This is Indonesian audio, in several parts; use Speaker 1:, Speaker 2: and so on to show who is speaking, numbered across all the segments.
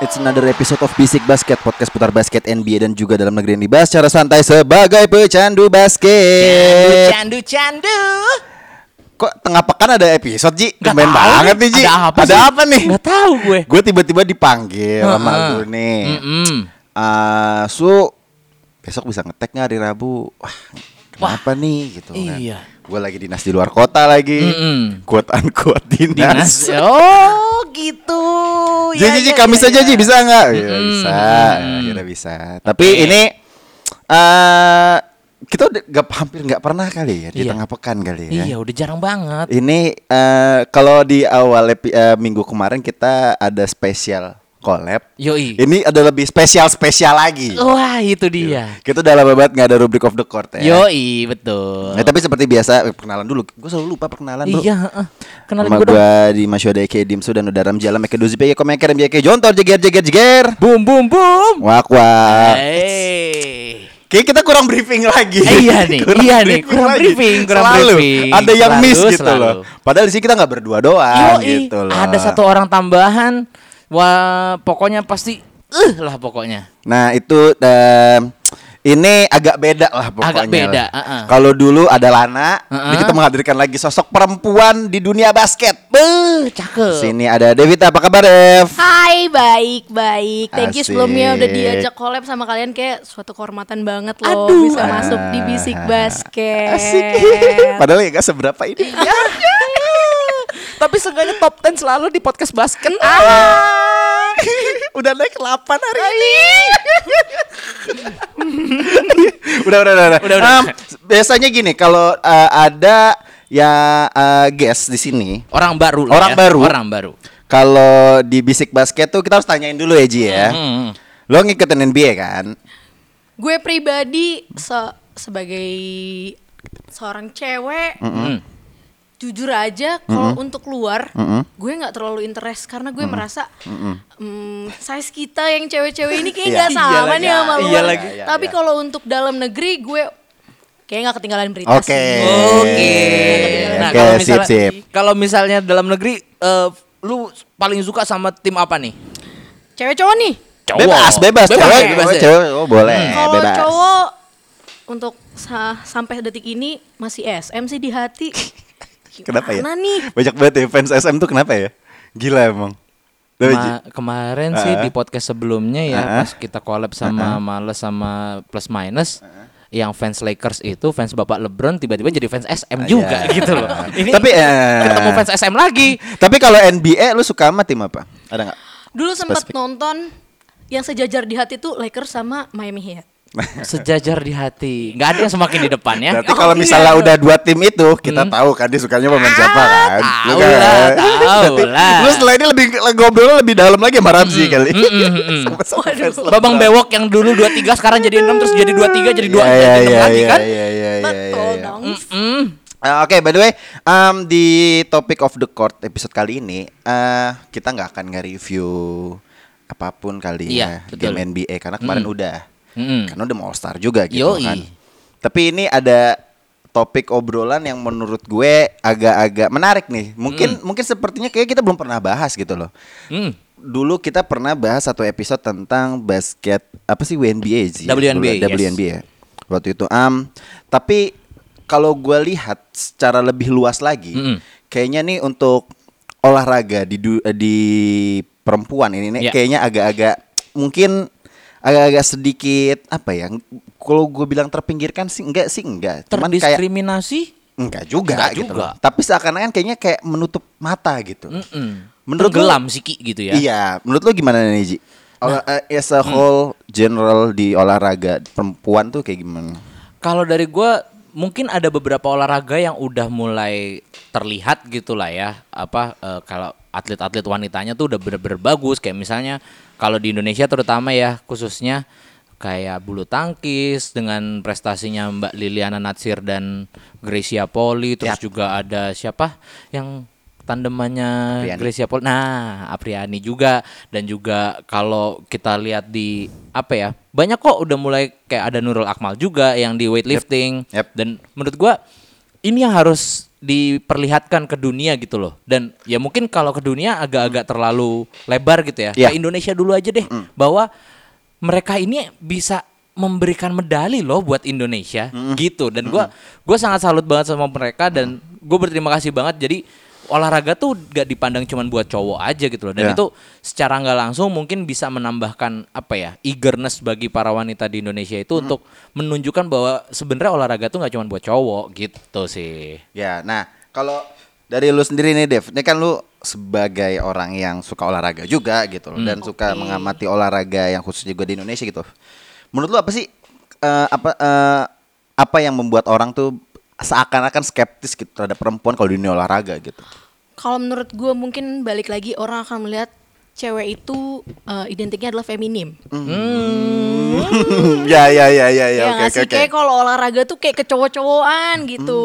Speaker 1: It's another episode of Basic Basket Podcast putar basket NBA dan juga dalam negeri yang dibahas secara santai sebagai pecandu basket
Speaker 2: Candu, candu.
Speaker 1: Kok tengah pekan ada episode Ji?
Speaker 2: Gak
Speaker 1: Kemarin
Speaker 2: tahu
Speaker 1: banget
Speaker 2: nih,
Speaker 1: nih Ji
Speaker 2: ada apa sih?
Speaker 1: nih?
Speaker 2: Gak tahu gue.
Speaker 1: Gue tiba-tiba dipanggil sama
Speaker 2: Heeh.
Speaker 1: lu nih
Speaker 2: Mm-mm.
Speaker 1: Ah, Su Besok bisa ngetek gak hari Rabu? Wah kenapa nih gitu kan
Speaker 2: iya.
Speaker 1: Gue lagi dinas di luar kota lagi
Speaker 2: Mm-mm.
Speaker 1: Quote unquote dinas,
Speaker 2: Dinas. Oh, gitu.
Speaker 1: Ji,
Speaker 2: Ya,
Speaker 1: Ji, Ji,
Speaker 2: ya,
Speaker 1: Kamis
Speaker 2: ya,
Speaker 1: aja
Speaker 2: ya.
Speaker 1: Ji, bisa nggak? Ya,
Speaker 2: Mm-mm.
Speaker 1: bisa,
Speaker 2: Mm-mm. Iya.
Speaker 1: akhirnya bisa. Tapi ini eh kita udah gak, hampir nggak pernah kali ya di
Speaker 2: Iya.
Speaker 1: tengah pekan kali ya.
Speaker 2: Iya, udah jarang banget.
Speaker 1: Ini eh kalau di awal epi- eh, minggu kemarin kita ada spesial collab.
Speaker 2: Yoi.
Speaker 1: Ini ada lebih spesial spesial lagi.
Speaker 2: Wah, itu dia.
Speaker 1: Kita udah lama banget nggak ada rubrik of the court ya.
Speaker 2: Yoi, betul.
Speaker 1: Nah, tapi seperti biasa eh, perkenalan dulu. Gue selalu lupa perkenalan dulu.
Speaker 2: Iya, heeh. kenalin
Speaker 1: Nama
Speaker 2: gue dong.
Speaker 1: gue di Masyode Eke Dimsu dan Udaram Jalan Meke Dozi Peke Komeker Meke Jontor Jeger Jeger Jeger
Speaker 2: Boom, boom, boom.
Speaker 1: Wak wak
Speaker 2: Eh. Hey.
Speaker 1: Kayaknya kita kurang briefing lagi
Speaker 2: Eh, iya nih, iya nih, kurang
Speaker 1: lagi.
Speaker 2: briefing, kurang
Speaker 1: selalu.
Speaker 2: briefing.
Speaker 1: Ada yang
Speaker 2: Selalu,
Speaker 1: miss gitu
Speaker 2: selalu.
Speaker 1: loh Padahal di sini kita nggak berdua doang
Speaker 2: Yoi,
Speaker 1: gitu loh
Speaker 2: ada satu orang tambahan. Wah, pokoknya pasti eh lah pokoknya.
Speaker 1: Nah itu em, ini agak beda lah pokoknya
Speaker 2: Agak beda,
Speaker 1: lah.
Speaker 2: uh-uh.
Speaker 1: Kalau dulu ada Lana
Speaker 2: Uh-uh.
Speaker 1: ini Kita menghadirkan lagi sosok perempuan di dunia basket
Speaker 2: Beuh, cakep.
Speaker 1: Sini ada Devita, apa kabar Dev?
Speaker 3: Hai, baik-baik. Thank you
Speaker 1: Asik.
Speaker 3: sebelumnya udah diajak collab sama kalian kayak suatu kehormatan banget loh
Speaker 2: Aduh.
Speaker 3: bisa masuk di bisik basket.
Speaker 1: Padahal ya gak seberapa ini
Speaker 2: Tapi seenggaknya top 10 selalu di podcast basket.
Speaker 1: udah naik 8 hari ini. udah, udah, udah, udah.
Speaker 2: Udah, udah.
Speaker 1: Em, biasanya gini kalau eh, ada ya eh, guest di sini,
Speaker 2: Orang baru lah
Speaker 1: Orang
Speaker 2: ya.
Speaker 1: baru.
Speaker 2: Orang baru.
Speaker 1: kalau di bisik basket tuh kita harus tanyain dulu ya Ji ya.
Speaker 2: Hmm.
Speaker 1: Lo ngikutin NBA kan?
Speaker 3: Gue pribadi se- sebagai seorang cewek
Speaker 2: Hmm.
Speaker 3: jujur aja kalau untuk luar gue nggak terlalu interest karena gue merasa mm, size kita yang cewek-cewek ini kayak
Speaker 1: Iya.
Speaker 3: nggak
Speaker 2: Iya
Speaker 3: sama
Speaker 2: lagi.
Speaker 3: nih sama
Speaker 2: Iya
Speaker 3: luar.
Speaker 2: lagi.
Speaker 3: Tapi
Speaker 1: Iya, iya.
Speaker 3: kalau untuk dalam negeri gue kayak nggak ketinggalan berita
Speaker 1: Oke.
Speaker 3: sih.
Speaker 2: Oke.
Speaker 3: Nah,
Speaker 1: Oke,
Speaker 2: kalau
Speaker 1: sip
Speaker 2: misalnya-
Speaker 1: sip.
Speaker 2: Kalau misalnya dalam negeri eh, lu paling suka sama tim apa nih?
Speaker 3: Cewek cowok nih.
Speaker 2: Cowok.
Speaker 1: Bebas, bebas,
Speaker 2: Bebas,
Speaker 1: cewek,
Speaker 2: bebas ya? Hmm.
Speaker 1: cewek, oh, boleh,
Speaker 3: Kalau
Speaker 1: bebas.
Speaker 3: cowok untuk sa- sampai detik ini masih SM sih di hati.
Speaker 1: Kenapa ya?
Speaker 3: Gimana nih?
Speaker 1: Banyak banget ya fans SM tuh kenapa ya? Gila emang. Lo, Ji?
Speaker 2: Ma- kemarin sih
Speaker 1: Ah.
Speaker 2: di podcast sebelumnya ya
Speaker 1: Ah.
Speaker 2: pas kita collab sama Males sama Plus Minus yang fans Lakers itu fans Bapak LeBron tiba-tiba jadi fans SM juga
Speaker 1: Iya.
Speaker 2: gitu loh. Ini
Speaker 1: Tapi, eh,
Speaker 2: ketemu fans SM lagi.
Speaker 1: Tapi kalau NBA lu suka sama tim apa? Ada nggak?
Speaker 3: Dulu sempat
Speaker 1: Spesifik.
Speaker 3: nonton yang sejajar di hati tuh Lakers sama Miami Heat.
Speaker 2: Sejajar di hati. nggak ada yang semakin di depan ya. Hmm.
Speaker 1: Berarti kalau misalnya udah dua tim itu, kita tahu kan dia sukanya pemain siapa kan?
Speaker 2: Ah, tahu
Speaker 1: Lu kan?
Speaker 2: lah, tahu
Speaker 1: Berarti
Speaker 2: lah. Hmm,
Speaker 1: Lu setelah ini lebih ngobrolnya lebih dalam lagi sama Ramzi kali. Sama-sama fans lah.
Speaker 2: Babang bewok yang dulu 23 sekarang jadi 6 terus jadi 23 jadi 2
Speaker 1: Iya,
Speaker 2: jadi
Speaker 1: iya,
Speaker 2: 6
Speaker 1: iya,
Speaker 2: lagi
Speaker 1: iya,
Speaker 2: kan?
Speaker 1: iya, iya, iya,
Speaker 3: Betul
Speaker 1: iya.
Speaker 3: dong.
Speaker 2: Hmm.
Speaker 1: Eh, Oke, by the way, em, di topic of the court episode kali ini eh kita nggak akan nge-review apapun kali
Speaker 2: Iya,
Speaker 1: ya
Speaker 2: betul.
Speaker 1: game NBA karena kemarin udah,
Speaker 2: Mm-mm.
Speaker 1: karena udah mau All Star juga gitu
Speaker 2: Yoi.
Speaker 1: kan. Tapi ini ada topik obrolan yang menurut gue agak-agak menarik nih.
Speaker 2: Mm.
Speaker 1: Mungkin mungkin sepertinya kayak kita belum pernah bahas gitu loh.
Speaker 2: Hmm.
Speaker 1: Dulu kita pernah bahas satu episode tentang basket apa sih WNBA sih? ya?
Speaker 2: WNBA,
Speaker 1: Dulu,
Speaker 2: yes.
Speaker 1: WNBA ya. Waktu itu. Am, tapi kalau gue lihat secara lebih luas lagi,
Speaker 2: Mm-mm.
Speaker 1: kayaknya nih untuk olahraga di du- eh, di perempuan ini nih
Speaker 2: Ya.
Speaker 1: kayaknya agak-agak mungkin agak-agak sedikit apa ya? Kalau gue bilang terpinggirkan sih enggak sih enggak. Cuman kayak
Speaker 2: Terdiskriminasi?
Speaker 1: enggak juga,
Speaker 2: Enggak
Speaker 1: gitu
Speaker 2: juga.
Speaker 1: loh. Tapi seakan-akan kayaknya kayak menutup mata gitu.
Speaker 2: Mm-mm.
Speaker 1: Menurut lu-
Speaker 2: Tenggelam sih Ki gitu ya.
Speaker 1: Iya, menurut lo gimana nih Ji? Olah, eh, as a whole general di olahraga perempuan tuh kayak gimana?
Speaker 2: Kalau dari gua mungkin ada beberapa olahraga yang udah mulai terlihat gitulah ya apa eh, kalau atlet-atlet wanitanya tuh udah bener-bener bagus kayak misalnya kalau di Indonesia terutama ya khususnya kayak bulu tangkis dengan prestasinya Mbak Liliana Natsir dan Gracia
Speaker 1: Ya.
Speaker 2: Poli terus juga ada siapa yang tandemannya
Speaker 1: Apriani.
Speaker 2: Gracia Poli nah Apriani juga dan juga kalau kita lihat di apa ya banyak kok udah mulai kayak ada Nurul Akmal juga yang di weightlifting
Speaker 1: Yep.
Speaker 2: dan menurut gua ini yang harus diperlihatkan ke dunia gitu loh dan ya mungkin kalau ke dunia agak-agak terlalu lebar gitu ya
Speaker 1: Iya.
Speaker 2: ke Indonesia dulu aja deh bahwa mereka ini bisa memberikan medali loh buat Indonesia gitu dan gua gua sangat salut banget sama mereka dan gue berterima kasih banget jadi olahraga tuh gak dipandang cuman buat cowok aja gitu loh dan
Speaker 1: Iya.
Speaker 2: itu secara nggak langsung mungkin bisa menambahkan apa ya eagerness bagi para wanita di Indonesia itu untuk menunjukkan bahwa sebenarnya olahraga tuh nggak cuman buat cowok gitu sih
Speaker 1: Ya, nah kalau dari lu sendiri nih Dev, ini kan lu sebagai orang yang suka olahraga juga gitu loh dan suka mengamati olahraga yang khususnya juga di Indonesia gitu. Menurut lu apa sih eh, apa eh, apa yang membuat orang tuh seakan-akan skeptis gitu terhadap perempuan kalau di dunia olahraga gitu?
Speaker 3: Kalau menurut gue mungkin balik lagi orang akan melihat cewek itu eh, identiknya adalah feminim.
Speaker 1: ya ya ya ya ya.
Speaker 3: Hmm. ya
Speaker 1: Hmm. Oke
Speaker 3: nggak
Speaker 1: oke
Speaker 3: sih?
Speaker 1: oke. Hmm.
Speaker 3: kayak kalau olahraga tuh kayak kecowo-cowoan gitu.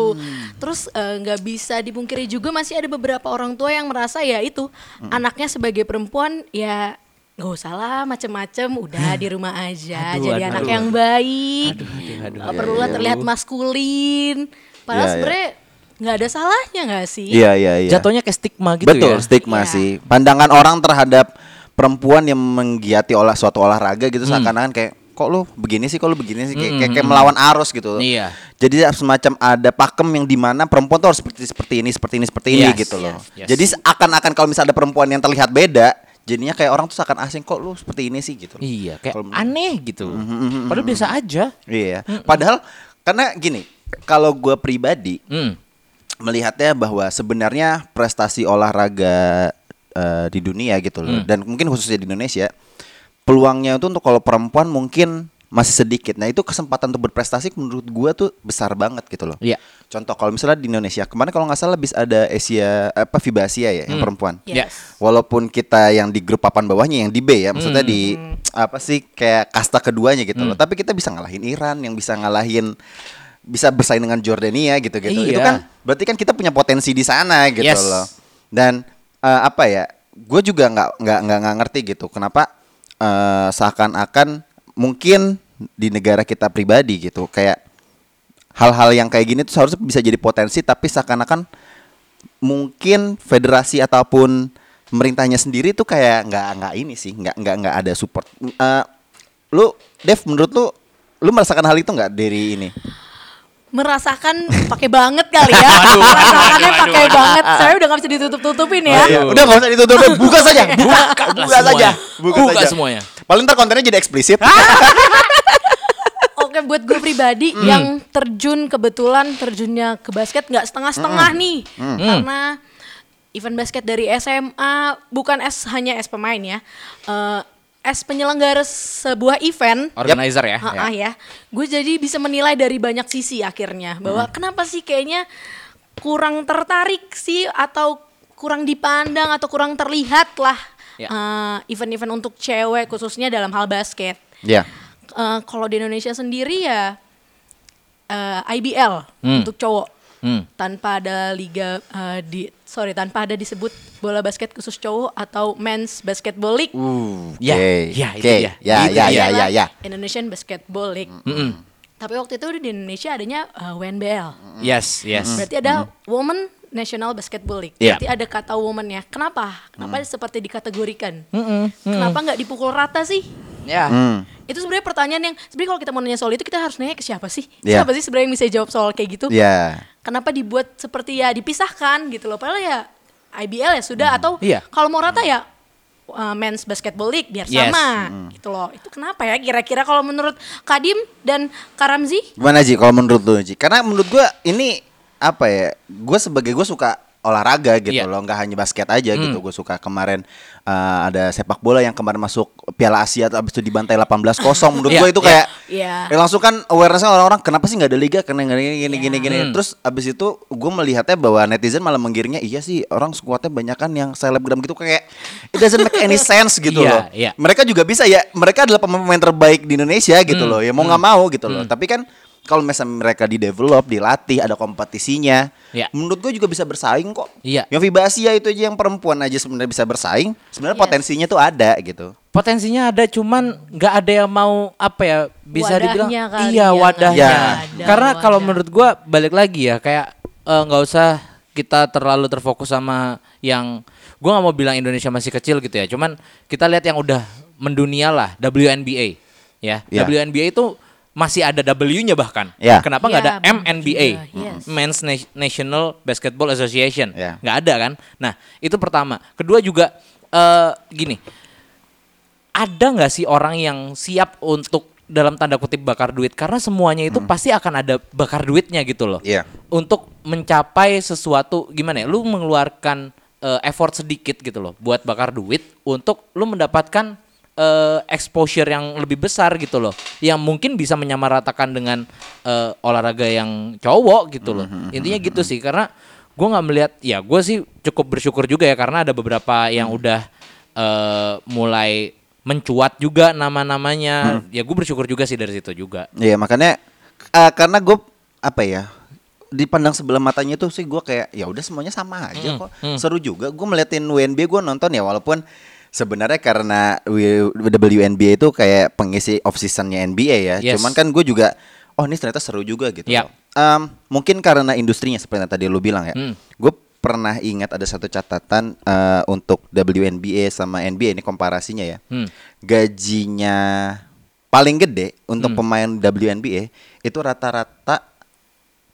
Speaker 3: Terus eh, nggak bisa dipungkiri juga masih ada beberapa orang tua yang merasa ya itu
Speaker 1: Hmm.
Speaker 3: anaknya sebagai perempuan ya nggak usah lah macem-macem udah di rumah aja
Speaker 2: Aduh,
Speaker 3: jadi
Speaker 2: aduh.
Speaker 3: anak yang baik
Speaker 2: aduh,
Speaker 3: nggak perlulah terlihat maskulin padahal
Speaker 1: Iya, iya.
Speaker 3: sebenarnya nggak ada salahnya nggak sih
Speaker 1: Iya iya iya.
Speaker 2: jatuhnya kayak stigma gitu
Speaker 1: Betul,
Speaker 2: ya
Speaker 1: stigma
Speaker 3: Iya.
Speaker 1: sih. Pandangan orang terhadap perempuan yang menggiati olah suatu olahraga gitu
Speaker 2: Hmm.
Speaker 1: seakan-akan kayak kok lu begini sih, kok lu begini sih, kayak, kayak, kayak melawan arus gitu.
Speaker 2: Iya.
Speaker 1: Jadi semacam ada pakem yang dimana perempuan tuh harus seperti seperti ini, seperti ini, seperti ini
Speaker 2: Yes.
Speaker 1: gitu loh.
Speaker 2: Yes.
Speaker 1: Jadi seakan-akan kalau misalnya ada perempuan yang terlihat beda, jadinya kayak orang tuh seakan asing kok lu seperti ini sih gitu. loh.
Speaker 2: iya kayak
Speaker 1: Kalau menurut- Mm-hmm,
Speaker 2: aneh gitu padahal biasa aja
Speaker 1: Iya. Padahal karena gini, kalau gua pribadi
Speaker 2: Hmm.
Speaker 1: melihatnya bahwa sebenarnya prestasi olahraga eh, di dunia gitu loh
Speaker 2: Hmm.
Speaker 1: dan mungkin khususnya di Indonesia peluangnya itu untuk kalau perempuan mungkin masih sedikit. Nah, itu kesempatan untuk berprestasi menurut gua tuh besar banget gitu loh.
Speaker 2: Iya.
Speaker 1: Contoh kalau misalnya di Indonesia kemarin kalau nggak salah bis ada Asia apa FIBA Asia ya yang perempuan.
Speaker 2: Ya.
Speaker 1: Walaupun kita yang di grup papan bawahnya yang di B ya, maksudnya di
Speaker 2: Hmm.
Speaker 1: apa sih kayak kasta keduanya gitu loh. Tapi kita bisa ngalahin Iran, yang bisa ngalahin bisa bersaing dengan Jordania gitu-gitu. Itu
Speaker 2: Iya.
Speaker 1: kan berarti kan kita punya potensi di sana gitu
Speaker 2: Yes.
Speaker 1: loh. Dan eh, apa ya? Gue juga nggak nggak nggak nggak ngerti gitu. Kenapa eh, seakan-akan mungkin di negara kita pribadi gitu kayak hal-hal yang kayak gini tuh harusnya bisa jadi potensi tapi seakan-akan mungkin federasi ataupun pemerintahnya sendiri tuh kayak nggak nggak ini sih nggak nggak nggak ada support Eh, lu Dev menurut lu lu merasakan hal itu nggak dari ini
Speaker 3: merasakan pakai banget kali ya merasakannya pakai banget saya udah nggak bisa ditutup tutupin ya
Speaker 1: Iya, udah nggak usah ditutup buka saja buka buka
Speaker 2: semuanya.
Speaker 1: saja
Speaker 2: Buka semuanya. Ah!
Speaker 1: paling ntar kontennya jadi eksplisit
Speaker 3: Oke buat gue pribadi yang terjun kebetulan terjunnya ke basket nggak setengah-setengah nih karena event basket dari SMA bukan es hanya es pemain ya Eh es penyelenggara sebuah event
Speaker 2: organizer ya, ya.
Speaker 3: Ha-ha ya. Gue jadi bisa menilai dari banyak sisi akhirnya
Speaker 2: Hmm.
Speaker 3: bahwa kenapa sih kayaknya kurang tertarik sih atau kurang dipandang atau kurang terlihat lah
Speaker 2: Ya.
Speaker 3: eh, event-event untuk cewek khususnya dalam hal basket.
Speaker 1: ya
Speaker 3: Eh, kalau di Indonesia sendiri ya eh, IBL
Speaker 2: Hmm.
Speaker 3: untuk cowok
Speaker 2: Hmm.
Speaker 3: tanpa ada liga eh, di sorry tanpa ada disebut bola basket khusus cowok atau men's basketball league
Speaker 2: Ya, ya, itu
Speaker 1: oke.
Speaker 2: dia.
Speaker 1: ya
Speaker 2: Itu
Speaker 1: ya ya
Speaker 2: dia.
Speaker 1: ya ya
Speaker 3: Iya, Indonesian Basketball League. Tapi waktu itu di Indonesia adanya uh, WNBL.
Speaker 2: yes yes
Speaker 3: Berarti ada Women National Basketball League.
Speaker 2: Iya.
Speaker 3: Berarti ada kata woman-nya. Kenapa? Kenapa seperti dikategorikan? Kenapa nggak dipukul rata sih?
Speaker 2: ya
Speaker 1: Hmm.
Speaker 3: Itu sebenarnya pertanyaan yang sebenarnya kalau kita mau nanya soal itu kita harus nanya ke siapa sih?
Speaker 1: Iya.
Speaker 3: Siapa sih sebenarnya yang bisa jawab soal kayak gitu?
Speaker 1: ya
Speaker 3: Kenapa dibuat seperti ya dipisahkan gitu loh? Padahal ya IBL ya sudah atau
Speaker 2: Iya.
Speaker 3: kalau mau rata ya uh, men's basketball league biar
Speaker 2: Yes. Hmm.
Speaker 3: sama gitu loh. Itu kenapa ya kira-kira kalau menurut Kadim dan Karamzi?
Speaker 1: Gimana Ji kalau menurut lu Ji? Karena menurut gua ini apa ya? Gua sebagai gua suka olahraga gitu
Speaker 2: Iya. Hmm.
Speaker 1: loh, nggak hanya basket aja gitu. Gua suka kemarin eh, ada sepak bola yang kemarin masuk Piala Asia abis itu dibantai 18-0. Menurut
Speaker 2: Iya,
Speaker 1: gua itu
Speaker 2: iya.
Speaker 1: kayak
Speaker 3: Iya.
Speaker 1: ya langsung kan awarenessnya orang-orang kenapa sih nggak ada liga karena nggak ada gini gini gini, gini.
Speaker 2: Hmm.
Speaker 1: Terus abis itu gua melihatnya bahwa netizen malah menggiringnya iya sih orang squadnya banyak kan yang selebgram gitu kayak it doesn't make any sense gitu
Speaker 2: Iya,
Speaker 1: loh.
Speaker 2: iya.
Speaker 1: Mereka juga bisa ya, mereka adalah pemain-pemain terbaik di Indonesia gitu
Speaker 2: Hmm.
Speaker 1: loh. Ya mau nggak mau gitu loh. Tapi kan kalau misalnya mereka di develop, dilatih, ada kompetisinya,
Speaker 2: Iya.
Speaker 1: menurut gue juga bisa bersaing kok.
Speaker 2: Iya.
Speaker 1: Yang FIBA Asia itu aja yang perempuan aja sebenarnya bisa bersaing. Sebenarnya
Speaker 2: Iya.
Speaker 3: Yes.
Speaker 1: potensinya tuh ada gitu.
Speaker 2: potensinya ada cuman nggak ada yang mau apa ya bisa
Speaker 3: Wadahnya
Speaker 2: dibilang
Speaker 3: kali
Speaker 2: iya
Speaker 3: ya, nggak
Speaker 2: wadahnya
Speaker 1: ada
Speaker 2: karena
Speaker 3: wadah.
Speaker 2: kalau menurut gua balik lagi ya kayak eh, nggak usah kita terlalu terfokus sama yang gue nggak mau bilang Indonesia masih kecil gitu ya. Cuman kita lihat yang udah mendunia lah WNBA ya.
Speaker 1: Iya.
Speaker 2: WNBA itu masih ada W-nya bahkan.
Speaker 1: Iya.
Speaker 2: Kenapa nggak
Speaker 3: Iya,
Speaker 2: ada
Speaker 3: bener
Speaker 2: MNBA?
Speaker 3: juga, yes.
Speaker 2: Men's Na- National Basketball Association.
Speaker 1: Iya.
Speaker 2: nggak ada kan? Nah, itu pertama. Kedua juga eh, gini. Ada nggak sih orang yang siap untuk dalam tanda kutip bakar duit karena semuanya itu pasti akan ada bakar duitnya gitu loh
Speaker 1: Iya.
Speaker 2: untuk mencapai sesuatu gimana ya lu mengeluarkan eh, effort sedikit gitu loh buat bakar duit untuk lu mendapatkan eh, exposure yang lebih besar gitu loh yang mungkin bisa menyamaratakan dengan eh, olahraga yang cowok gitu loh intinya gitu sih karena gue nggak melihat ya gue sih cukup bersyukur juga ya karena ada beberapa yang udah eh, mulai mencuat juga nama-namanya ya gue bersyukur juga sih dari situ juga
Speaker 1: Iya makanya eh, karena gue apa ya dipandang sebelah matanya tuh sih gue kayak ya udah semuanya sama
Speaker 2: Hmm,
Speaker 1: aja kok seru juga gue meliatin WNB gue nonton ya walaupun sebenarnya karena W- WNBA itu kayak pengisi off seasonnya NBA ya
Speaker 2: Yes.
Speaker 1: cuman kan gue juga oh ini ternyata seru juga gitu
Speaker 2: Yap.
Speaker 1: loh. Em, mungkin karena industrinya seperti yang tadi lu bilang ya
Speaker 2: Hmm.
Speaker 1: gue pernah ingat ada satu catatan eh, untuk WNBA sama NBA ini komparasinya ya
Speaker 2: Hmm.
Speaker 1: gajinya paling gede untuk
Speaker 2: Hmm.
Speaker 1: pemain WNBA itu rata-rata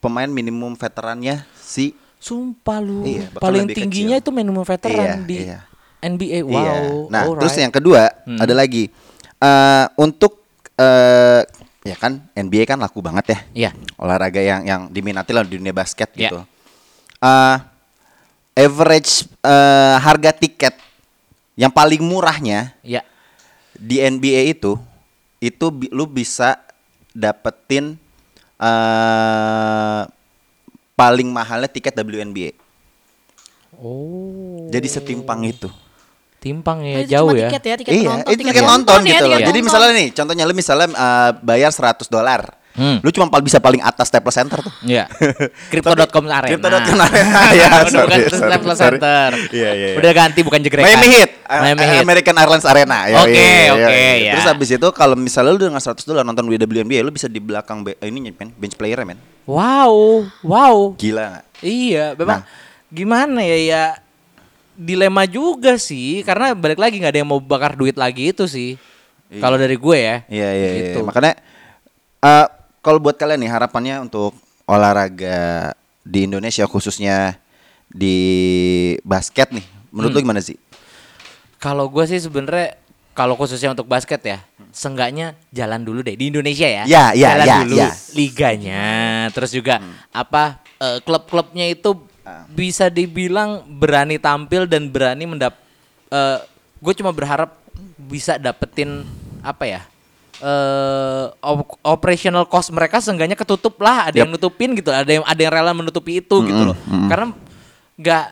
Speaker 1: pemain minimum veterannya si
Speaker 2: Sumpah lu.
Speaker 1: Iya, bakal
Speaker 2: paling
Speaker 1: lebih
Speaker 2: tingginya
Speaker 1: kecil.
Speaker 2: itu minimum veteran
Speaker 1: Iya,
Speaker 2: di
Speaker 1: iya.
Speaker 2: NBA. Wow.
Speaker 1: Iya. Nah,
Speaker 2: alright. Hmm.
Speaker 1: terus yang kedua ada lagi Eh, untuk eh ya kan NBA kan laku banget ya.
Speaker 2: Iya.
Speaker 1: Olahraga yang yang diminati lah di dunia basket
Speaker 2: Iya.
Speaker 1: gitu. Eh, average eh, harga tiket yang paling murahnya
Speaker 2: ya.
Speaker 1: di NBA itu itu bi- lu bisa dapetin eh paling mahalnya tiket WNBA.
Speaker 2: Oh.
Speaker 1: Jadi setimpang itu.
Speaker 2: Timpang ya
Speaker 3: Nah, itu
Speaker 2: jauh
Speaker 3: cuma
Speaker 2: ya.
Speaker 3: tiket ya, tiket
Speaker 1: iya,
Speaker 3: penonton,
Speaker 1: itu tiket nonton
Speaker 3: ya,
Speaker 1: gitu loh.
Speaker 3: tiket
Speaker 1: Jadi
Speaker 3: nonton.
Speaker 1: misalnya nih, contohnya lu misalnya eh, bayar 100 dolar.
Speaker 2: Hmm.
Speaker 1: Lu cuma pal- bisa paling atas Staples Center tuh.
Speaker 2: Iya. Crypto.com Arena.
Speaker 1: Crypto.com Arena, ya,
Speaker 2: Udah bukan
Speaker 1: sorry, sorry,
Speaker 2: Staples
Speaker 1: sorry.
Speaker 2: Center.
Speaker 1: Iya, iya, iya.
Speaker 2: Udah ganti bukan jegrekan.
Speaker 1: Miami Heat, eh,
Speaker 2: Miami
Speaker 1: eh,
Speaker 2: Heat.
Speaker 1: American Airlines Arena. Ya,
Speaker 2: Oke,
Speaker 1: iya, iya,
Speaker 2: oke,
Speaker 1: iya.
Speaker 2: ya.
Speaker 1: Terus habis itu kalau misalnya lu dengan 100 dolar nonton WNBA, lu bisa di belakang be- eh, ini men, bench player men.
Speaker 2: Wow, wow.
Speaker 1: Gila gak?
Speaker 2: Iya, memang
Speaker 1: Nah.
Speaker 2: gimana ya ya dilema juga sih karena balik lagi nggak ada yang mau bakar duit lagi itu sih.
Speaker 1: Iya.
Speaker 2: Kalau dari gue ya.
Speaker 1: Iya iya iya.
Speaker 2: Gitu.
Speaker 1: Makanya eh, kalau buat kalian nih harapannya untuk olahraga di Indonesia khususnya di basket nih,
Speaker 3: Hmm.
Speaker 1: menurut lu gimana sih?
Speaker 2: Kalau gue sih sebenarnya kalau khususnya untuk basket ya, seenggaknya jalan dulu deh di Indonesia ya.
Speaker 1: Ya, ya,
Speaker 2: jalan
Speaker 1: ya,
Speaker 2: dulu
Speaker 1: ya.
Speaker 2: liganya, terus juga apa eh, klub-klubnya itu bisa dibilang berani tampil dan berani mendap. gue cuma berharap bisa dapetin apa ya? eh op- operational cost mereka seenggaknya ketutup lah ada
Speaker 1: Yap.
Speaker 2: yang nutupin gitu ada yang ada yang rela menutupi itu gitu loh karena nggak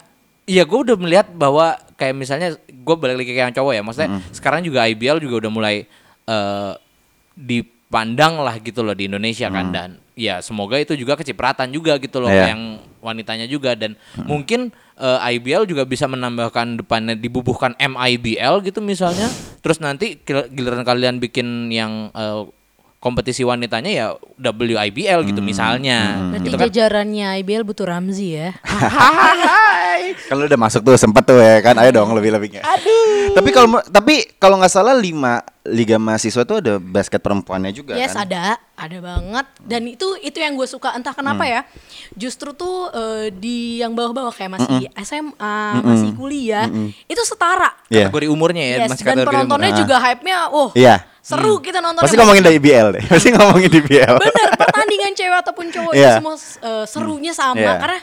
Speaker 2: ya gue udah melihat bahwa kayak misalnya gue balik lagi ke yang cowok ya maksudnya sekarang juga IBL juga udah mulai eh, dipandang lah gitu loh di Indonesia kan dan ya semoga itu juga kecipratan juga gitu loh
Speaker 1: Hmm. Iya. Hmm.
Speaker 2: yang wanitanya juga dan mungkin eh, IBL juga bisa menambahkan depannya dibubuhkan MIBL gitu misalnya terus nanti gil- giliran kalian bikin yang eh, kompetisi wanitanya ya WIBL gitu
Speaker 1: Hmm.
Speaker 2: misalnya
Speaker 3: Berarti
Speaker 2: gitu kan Ah,
Speaker 3: jajarannya IBL butuh Ramzi ya.
Speaker 1: Kalau Kan udah masuk tuh sempet tuh ya kan, ayo dong lebih-lebihnya. Aduh. Tapi kalau mu- tapi kalau nggak salah lima liga mahasiswa tuh ada basket perempuannya juga
Speaker 3: Yes,
Speaker 2: iya.
Speaker 1: kan?
Speaker 3: ada, ada banget.
Speaker 2: Hmm.
Speaker 3: Dan itu itu yang gue suka entah kenapa ya. Justru tuh eh, di yang bawah-bawah kayak masih SMA, masih kuliah, itu setara.
Speaker 1: Iya.
Speaker 2: kategori umurnya ya
Speaker 3: Yes,
Speaker 2: masih
Speaker 3: dan
Speaker 2: kategori umur.
Speaker 3: penontonnya juga hype-nya, wah
Speaker 1: Ah. Iya.
Speaker 3: seru kita nonton.
Speaker 1: Pasti ngomongin dari IBL deh. Pasti ngomongin di IBL.
Speaker 3: Bener, pertandingan cewek ataupun cowok itu
Speaker 1: Iya.
Speaker 3: semua eh, serunya sama
Speaker 1: Iya.
Speaker 3: karena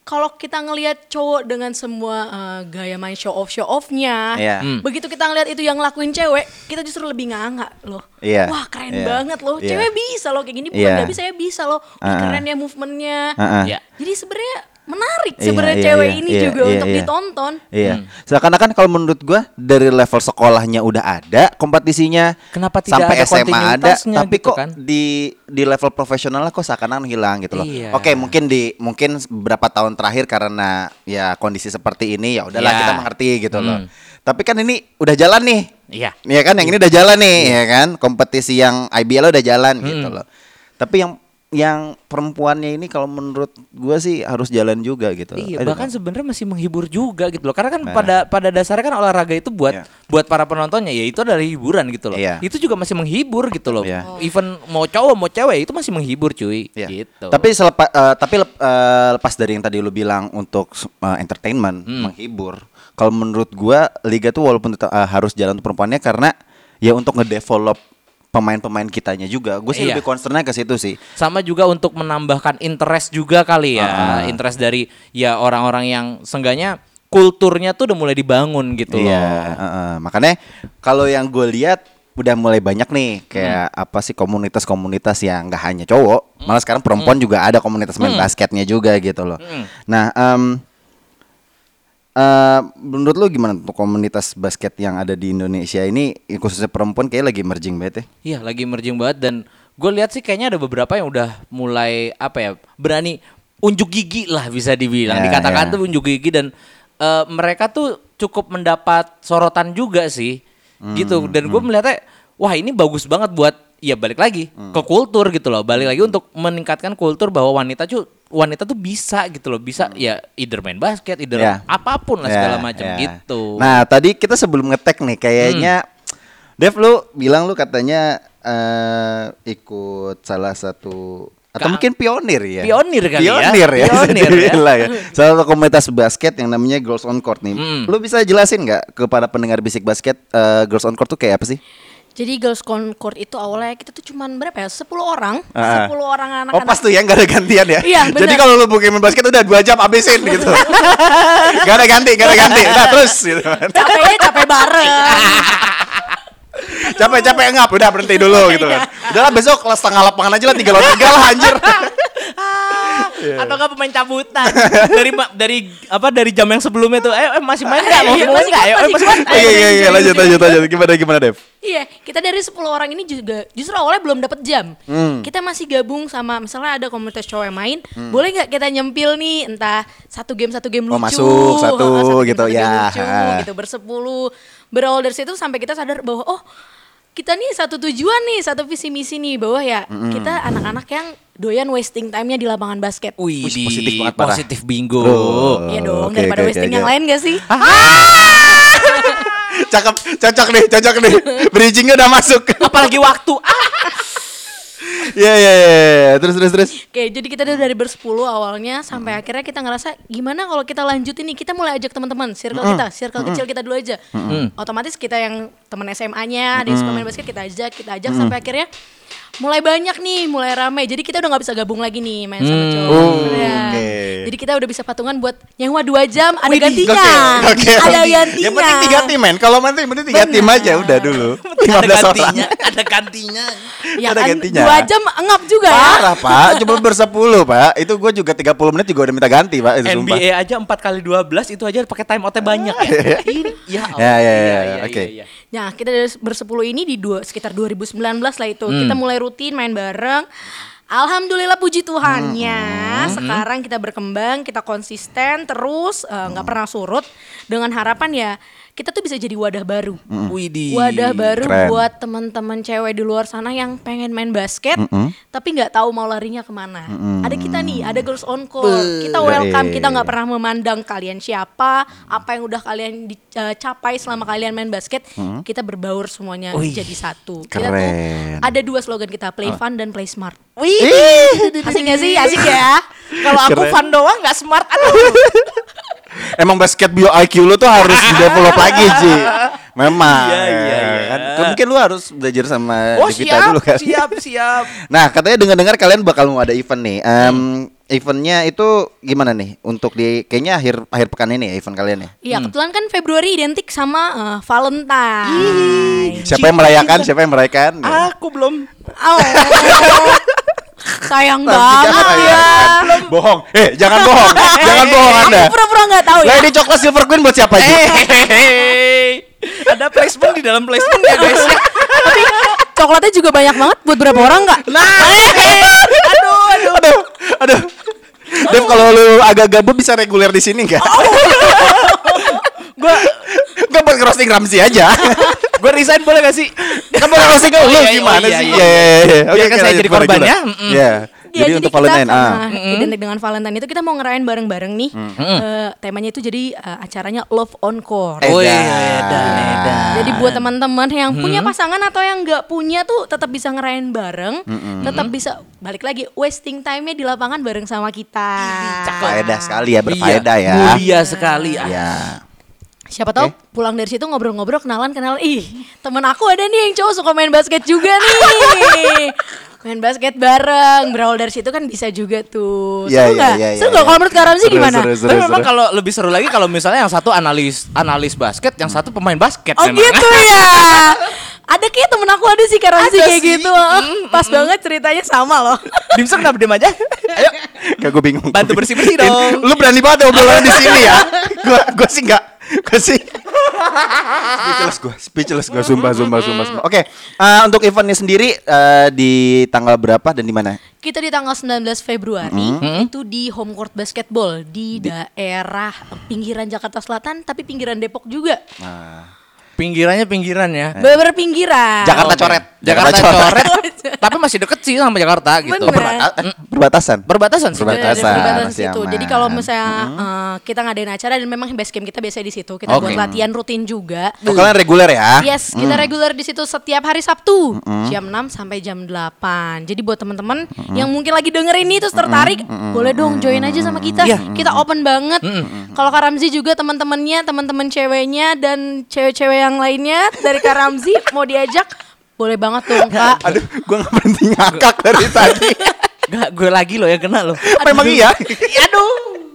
Speaker 3: kalau kita ngelihat cowok dengan semua eh, gaya main show off show offnya,
Speaker 1: Iya.
Speaker 2: Hmm.
Speaker 3: begitu kita ngelihat itu yang lakuin cewek, kita justru lebih nganga loh.
Speaker 1: Iya.
Speaker 3: Wah keren
Speaker 1: Iya.
Speaker 3: banget loh,
Speaker 1: Iya.
Speaker 3: cewek bisa loh kayak gini, bukan
Speaker 1: Iya.
Speaker 3: nggak bisa ya bisa loh, Wih,
Speaker 1: Ah, ah.
Speaker 3: keren ya movementnya.
Speaker 1: Heeh.
Speaker 2: Iya.
Speaker 3: Jadi sebenarnya menarik
Speaker 1: Iya,
Speaker 3: sebenarnya
Speaker 1: iya,
Speaker 3: cewek
Speaker 1: iya,
Speaker 3: ini
Speaker 1: iya,
Speaker 3: juga
Speaker 1: iya,
Speaker 3: untuk
Speaker 1: iya.
Speaker 3: ditonton.
Speaker 1: Iya.
Speaker 2: Hmm.
Speaker 1: Seakan-akan kalau menurut gua dari level sekolahnya udah ada kompetisinya
Speaker 2: Kenapa tidak
Speaker 1: sampai
Speaker 2: ada
Speaker 1: SMA ada,
Speaker 2: kontinuitasnya
Speaker 1: tapi
Speaker 2: gitu
Speaker 1: kok
Speaker 2: kan?
Speaker 1: di di level profesionalnya kok seakan-akan hilang gitu loh.
Speaker 2: Iya.
Speaker 1: Oke, mungkin di mungkin beberapa tahun terakhir karena ya kondisi seperti ini ya udahlah
Speaker 2: Iya.
Speaker 1: kita mengerti gitu loh.
Speaker 2: Hmm.
Speaker 1: Tapi kan ini udah jalan nih.
Speaker 2: Iya. Hmm.
Speaker 1: Iya kan yang ini udah jalan nih, ya kan? Kompetisi yang IBL udah jalan gitu loh. Tapi yang yang perempuannya ini kalau menurut gua sih harus jalan juga gitu.
Speaker 2: Iya,
Speaker 1: I don't
Speaker 2: bahkan
Speaker 1: know.
Speaker 2: sebenarnya masih menghibur juga gitu loh. Karena kan
Speaker 1: Nah.
Speaker 2: pada pada dasarnya kan olahraga itu buat
Speaker 1: Iya.
Speaker 2: buat para penontonnya ya itu adalah hiburan gitu loh.
Speaker 1: Iya.
Speaker 2: Itu juga masih menghibur gitu loh.
Speaker 1: Iya.
Speaker 2: Even mau cowok mau cewek itu masih menghibur cuy.
Speaker 1: Iya.
Speaker 2: Gitu.
Speaker 1: Tapi selepa- eh, tapi lep- eh, lepas dari yang tadi lu bilang untuk s- eh, entertainment,
Speaker 2: Hmm.
Speaker 1: menghibur. Kalau menurut gua liga tuh walaupun tetap, eh, harus jalan untuk perempuannya karena ya untuk ngedevelop pemain-pemain kitanya juga. Gue sih
Speaker 2: Iya.
Speaker 1: lebih concernnya ke situ sih.
Speaker 2: sama juga untuk menambahkan interest juga kali ya.
Speaker 1: Ah.
Speaker 2: Interest dari ya orang-orang yang sengganya kulturnya tuh udah mulai dibangun gitu
Speaker 1: Iya,
Speaker 2: loh.
Speaker 1: heeh. makanya kalau yang gue lihat udah mulai banyak nih kayak
Speaker 2: Hmm.
Speaker 1: apa sih komunitas-komunitas yang nggak hanya cowok, malah sekarang perempuan
Speaker 2: Hmm.
Speaker 1: juga ada komunitas main basketnya juga gitu loh. Nah, em, eh, menurut lo gimana tuh komunitas basket yang ada di Indonesia ini khususnya perempuan kayak lagi emerging banget ya?
Speaker 2: Iya, lagi merging banget dan gue lihat sih kayaknya ada beberapa yang udah mulai apa ya berani unjuk gigi lah bisa dibilang
Speaker 1: Ya,
Speaker 2: dikatakan
Speaker 1: ya.
Speaker 2: tuh unjuk gigi dan eh, mereka tuh cukup mendapat sorotan juga sih
Speaker 1: Hmm,
Speaker 2: gitu dan gue melihatnya wah ini bagus banget buat ya balik lagi
Speaker 1: Hmm.
Speaker 2: ke kultur gitu loh balik lagi untuk meningkatkan kultur bahwa wanita tuh wanita tuh bisa gitu loh bisa ya either main basket either
Speaker 1: Hmm. Ya.
Speaker 2: apapun lah
Speaker 1: Ya,
Speaker 2: segala macam
Speaker 1: ya.
Speaker 2: gitu
Speaker 1: Nah, tadi kita sebelum ngetek nih kayaknya
Speaker 2: Hmm.
Speaker 1: Dev lu bilang lu katanya eh, ikut salah satu atau
Speaker 2: Ka-
Speaker 1: mungkin pionir ya.
Speaker 2: Pionir kali ya.
Speaker 1: Pionir ya. bisa
Speaker 2: Pionir ya.
Speaker 1: dibilang ya. Salah satu komunitas basket yang namanya Girls on Court nih.
Speaker 2: Hmm.
Speaker 1: Lu bisa jelasin nggak kepada pendengar bisik basket eh, Girls on Court tuh kayak apa sih?
Speaker 3: Jadi Girls Concord itu awalnya kita tuh cuman berapa ya? 10 orang,
Speaker 1: Ah.
Speaker 3: 10 orang
Speaker 1: Oh
Speaker 3: anak-anak.
Speaker 1: pas tuh ya nggak ada gantian ya.
Speaker 3: Iya,
Speaker 1: Jadi
Speaker 3: benar.
Speaker 1: kalau lu buka main basket udah dua jam abisin gitu. gak ada ganti, gak ada ganti. Nah terus gitu kan.
Speaker 3: Capeknya capek
Speaker 1: Iya.
Speaker 3: bareng.
Speaker 1: capek-capek ngap udah berhenti dulu gitu kan udah lah besok kelas setengah lapangan aja lah tiga lawan tiga lah anjir Iya.
Speaker 2: atau nggak pemain cabutan dari ma- dari apa dari jam yang sebelumnya tuh eh, eh, masih main nggak mau
Speaker 3: Iya,
Speaker 2: mau
Speaker 3: masih kuat,
Speaker 2: nggak ayo eh,
Speaker 3: masih
Speaker 2: masih
Speaker 3: kuat.
Speaker 2: main
Speaker 1: iya iya iya lanjut lanjut lanjut gimana gimana Dev
Speaker 3: Iya, kita dari 10 orang ini juga justru awalnya belum dapat jam.
Speaker 1: Hmm.
Speaker 3: Kita masih gabung sama misalnya ada komunitas cowok yang main, boleh nggak kita nyempil nih entah satu game satu game
Speaker 1: Oh,
Speaker 3: lucu,
Speaker 1: masuk,
Speaker 3: oh,
Speaker 1: satu
Speaker 3: game,
Speaker 1: gitu,
Speaker 3: game
Speaker 1: ya.
Speaker 3: lucu,
Speaker 1: Ha.
Speaker 3: gitu bersepuluh. Berawal dari situ sampai kita sadar bahwa oh kita nih satu tujuan nih, satu visi misi nih bahwa ya
Speaker 1: Hmm.
Speaker 3: kita anak-anak yang doyan wasting time-nya di lapangan basket.
Speaker 2: Wih,
Speaker 1: Wih,
Speaker 2: di-
Speaker 1: positif banget, parah.
Speaker 2: positif bingo.
Speaker 1: Tuh.
Speaker 3: Iya dong,
Speaker 1: Eh, Oke,
Speaker 3: daripada
Speaker 1: oke,
Speaker 3: wasting
Speaker 1: oke,
Speaker 3: yang
Speaker 1: oke. Ah.
Speaker 3: lain gak sih?
Speaker 1: cakep cocok nih cocok nih bridgingnya udah masuk
Speaker 2: Apalagi waktu. Ah,
Speaker 1: iya iya iya iya. terus terus terus
Speaker 3: Oke, jadi kita tuh dari bersepuluh awalnya sampai akhirnya kita ngerasa gimana kalau kita lanjut ini kita mulai ajak teman-teman, circle kita, circle kecil kita dulu aja. Otomatis kita yang teman SMA-nya, di suka main basket kita ajak, kita ajak sampai akhirnya mulai banyak nih, mulai ramai. Jadi kita udah nggak bisa gabung lagi nih main sama cowok.
Speaker 1: Oh,
Speaker 3: Iya.
Speaker 1: oke.
Speaker 3: Jadi kita udah bisa patungan buat nyewa dua jam, ada
Speaker 1: Widih,
Speaker 3: gantinya,
Speaker 1: gokil, gokil.
Speaker 3: ada gantinya.
Speaker 1: yang penting tiga tim men kalau main penting tiga tim aja udah dulu lima
Speaker 2: ada
Speaker 1: belas orang
Speaker 2: gantinya, ada gantinya.
Speaker 3: Ya
Speaker 1: Ada
Speaker 3: kan,
Speaker 1: gantinya.
Speaker 3: dua jam ngap juga ya.
Speaker 1: parah pak cuma bersepuluh pak itu gue juga 30 menit juga udah minta ganti pak itu sumpah
Speaker 2: NBA aja 4 kali 12 itu aja pakai time outnya banyak ya. Ini- ya, Allah,
Speaker 1: Ya, ya,
Speaker 2: iya,
Speaker 1: ya,
Speaker 2: iya,
Speaker 1: oke.
Speaker 2: iya, iya.
Speaker 3: Nah, kita dari bersepuluh ini di dua, sekitar 2019 lah itu. Kita mulai rutin main bareng. Alhamdulillah puji Tuhannya. Sekarang kita berkembang, kita konsisten terus, eh, nggak pernah surut. Dengan harapan ya, kita tuh bisa jadi wadah baru.
Speaker 2: Hmm.
Speaker 1: Mm.
Speaker 2: Widih.
Speaker 3: Wadah baru
Speaker 1: Keren.
Speaker 3: buat teman-teman cewek di luar sana yang pengen main basket, tapi nggak tahu mau larinya kemana. Ada kita nih, ada girls on call. Kita welcome, kita nggak pernah memandang kalian siapa, apa yang udah kalian dicapai selama kalian main basket. Kita berbaur semuanya
Speaker 2: Wih,
Speaker 3: jadi satu. Kita tuh
Speaker 1: keren. Ah.
Speaker 3: ada dua slogan kita, play fun dan play smart.
Speaker 1: Ih.
Speaker 3: Asik gak sih? Asik ya.
Speaker 2: Kalau aku
Speaker 1: Keren.
Speaker 2: fan doang nggak smart aduh.
Speaker 1: Emang basket bio IQ lu tuh harus di develop lagi Ji Memang
Speaker 2: Iya, iya, iya.
Speaker 1: kan? Ke- Mungkin lu harus belajar sama
Speaker 2: Oh,
Speaker 1: Devita
Speaker 2: siap,
Speaker 1: dulu kan
Speaker 2: siap, siap.
Speaker 1: Nah katanya dengar-dengar kalian bakal mau ada event
Speaker 2: Hmm.
Speaker 1: nih Em, Eventnya itu gimana nih? Untuk di kayaknya akhir akhir pekan ini ya event kalian ya
Speaker 3: Iya, kebetulan kan Februari identik sama eh, Valentine.
Speaker 1: Siapa yang merayakan? Siapa yang merayakan?
Speaker 2: Aku belum
Speaker 3: Oh. Sayang
Speaker 1: Nanti kan
Speaker 3: banget ya.
Speaker 1: merayakan. Bohong Eh jangan bohong Jangan bohong anda
Speaker 3: Aku pura-pura nggak tahu
Speaker 1: Lah
Speaker 3: ya.
Speaker 1: ini coklat silver queen buat siapa Ji?
Speaker 2: Eh. Hehehe. Ada placement di dalam placement ya guys.
Speaker 3: Tapi coklatnya juga banyak banget buat berapa orang nggak? Nah,
Speaker 1: aduh, aduh, aduh, aduh. Dev kalau lu agak gabut bisa reguler di sini nggak?
Speaker 2: Oh. Gua
Speaker 1: Gak buat crossing Ramzi aja.
Speaker 2: gua resign boleh gak sih?
Speaker 1: Kan buat crossing lu
Speaker 2: Oh, iya, iya,
Speaker 1: gimana
Speaker 2: iya,
Speaker 1: sih?
Speaker 2: iya,
Speaker 1: Iya, iya, iya.
Speaker 2: Biarkan
Speaker 1: lanjut,
Speaker 2: saya jadi
Speaker 1: gimana,
Speaker 2: korbannya,
Speaker 1: gimana?
Speaker 2: mm-mm.
Speaker 1: Iya.
Speaker 3: Ya,
Speaker 1: jadi, untuk
Speaker 3: kita
Speaker 1: Valentine
Speaker 3: karena
Speaker 1: ah.
Speaker 3: identik dengan Valentine itu kita mau ngerayain bareng-bareng nih.
Speaker 1: Mm-hmm.
Speaker 3: Eh, temanya itu jadi eh, acaranya Love Encore.
Speaker 1: Eh.
Speaker 2: Woi,
Speaker 1: Edan.
Speaker 2: iya, edan, edan.
Speaker 3: Jadi buat teman-teman yang punya
Speaker 1: Mm-hmm.
Speaker 3: pasangan atau yang nggak punya tuh tetap bisa ngerayain bareng,
Speaker 1: Mm-hmm.
Speaker 3: tetap bisa balik lagi wasting time-nya di lapangan bareng sama kita.
Speaker 1: Faedah sekali ya, berfaedah
Speaker 2: Iya,
Speaker 1: ya.
Speaker 2: Mulia sekali. ah.
Speaker 1: Ya.
Speaker 3: Siapa tahu pulang dari situ ngobrol-ngobrol kenalan kenal ih temen aku ada nih yang cowok suka main basket juga nih main basket bareng berawal dari situ kan bisa juga tuh seru
Speaker 1: Iya, iya,
Speaker 3: nggak
Speaker 1: iya, iya,
Speaker 3: seru nggak
Speaker 1: iya.
Speaker 3: kalau menurut Karam sih
Speaker 1: Seru,
Speaker 3: gimana
Speaker 1: seru,
Speaker 2: Tapi memang
Speaker 1: seru.
Speaker 2: kalau lebih seru lagi kalau misalnya yang satu analis analis basket, yang satu pemain basket
Speaker 3: oh
Speaker 2: memang.
Speaker 3: gitu ya ada kayak temen aku ada sih Karam sih
Speaker 2: Ada
Speaker 3: kayak
Speaker 2: sih.
Speaker 3: gitu pas banget ceritanya sama loh
Speaker 2: Dimsum kenapa diem aja? Ayo,
Speaker 1: Gak gue bingung.
Speaker 2: Bantu bersih-bersih dong.
Speaker 1: Lu berani banget obrolan di sini ya. Gua gua sih enggak. Gua sih speechless gua, speechless gua sumpah sumpah sumpah. sumpah. Oke, eh, untuk eventnya sendiri eh, di tanggal berapa dan di mana?
Speaker 3: kita di tanggal 19 Februari
Speaker 1: Mm-hmm.
Speaker 3: itu di home court basketball di, daerah pinggiran Jakarta Selatan tapi pinggiran Depok juga
Speaker 2: Pinggirannya pinggiran ya.
Speaker 1: Nah.
Speaker 3: bener pinggiran
Speaker 1: Eh, Jakarta
Speaker 2: Oke.
Speaker 1: coret.
Speaker 2: Jakarta,
Speaker 1: Jakarta
Speaker 2: coret. tapi masih deket sih sama Jakarta gitu.
Speaker 3: Bener.
Speaker 1: Perbata- eh, perbatasan.
Speaker 2: Perbatasan sih.
Speaker 1: Perbatasan.
Speaker 3: Iya, dari perbatasan
Speaker 1: masih
Speaker 3: situ.
Speaker 1: aman. Hmm.
Speaker 3: Jadi kalau misalnya eh, kita ngadain acara dan memang base camp kita biasanya di situ, kita
Speaker 2: Oke.
Speaker 3: buat latihan rutin juga.
Speaker 1: Oh, kalian reguler ya?
Speaker 3: Yes, kita reguler di situ setiap hari Sabtu
Speaker 1: Hmm.
Speaker 3: jam 6 sampai jam 8. Jadi buat teman-teman yang mungkin lagi dengerin ini
Speaker 1: Hmm.
Speaker 3: terus tertarik, boleh dong join aja sama kita.
Speaker 1: Iya.
Speaker 3: Kita open banget.
Speaker 1: Hmm.
Speaker 3: Kalau Karamzi juga teman-temannya, teman-teman ceweknya dan cewek-cewek yang lainnya dari Karamzi mau diajak, boleh banget dong, Kak.
Speaker 1: Aduh, gua nggak berhenti ngakak dari tadi.
Speaker 2: Gak, gue lagi loh ya kena loh.
Speaker 1: Memang iya.
Speaker 3: Aduh.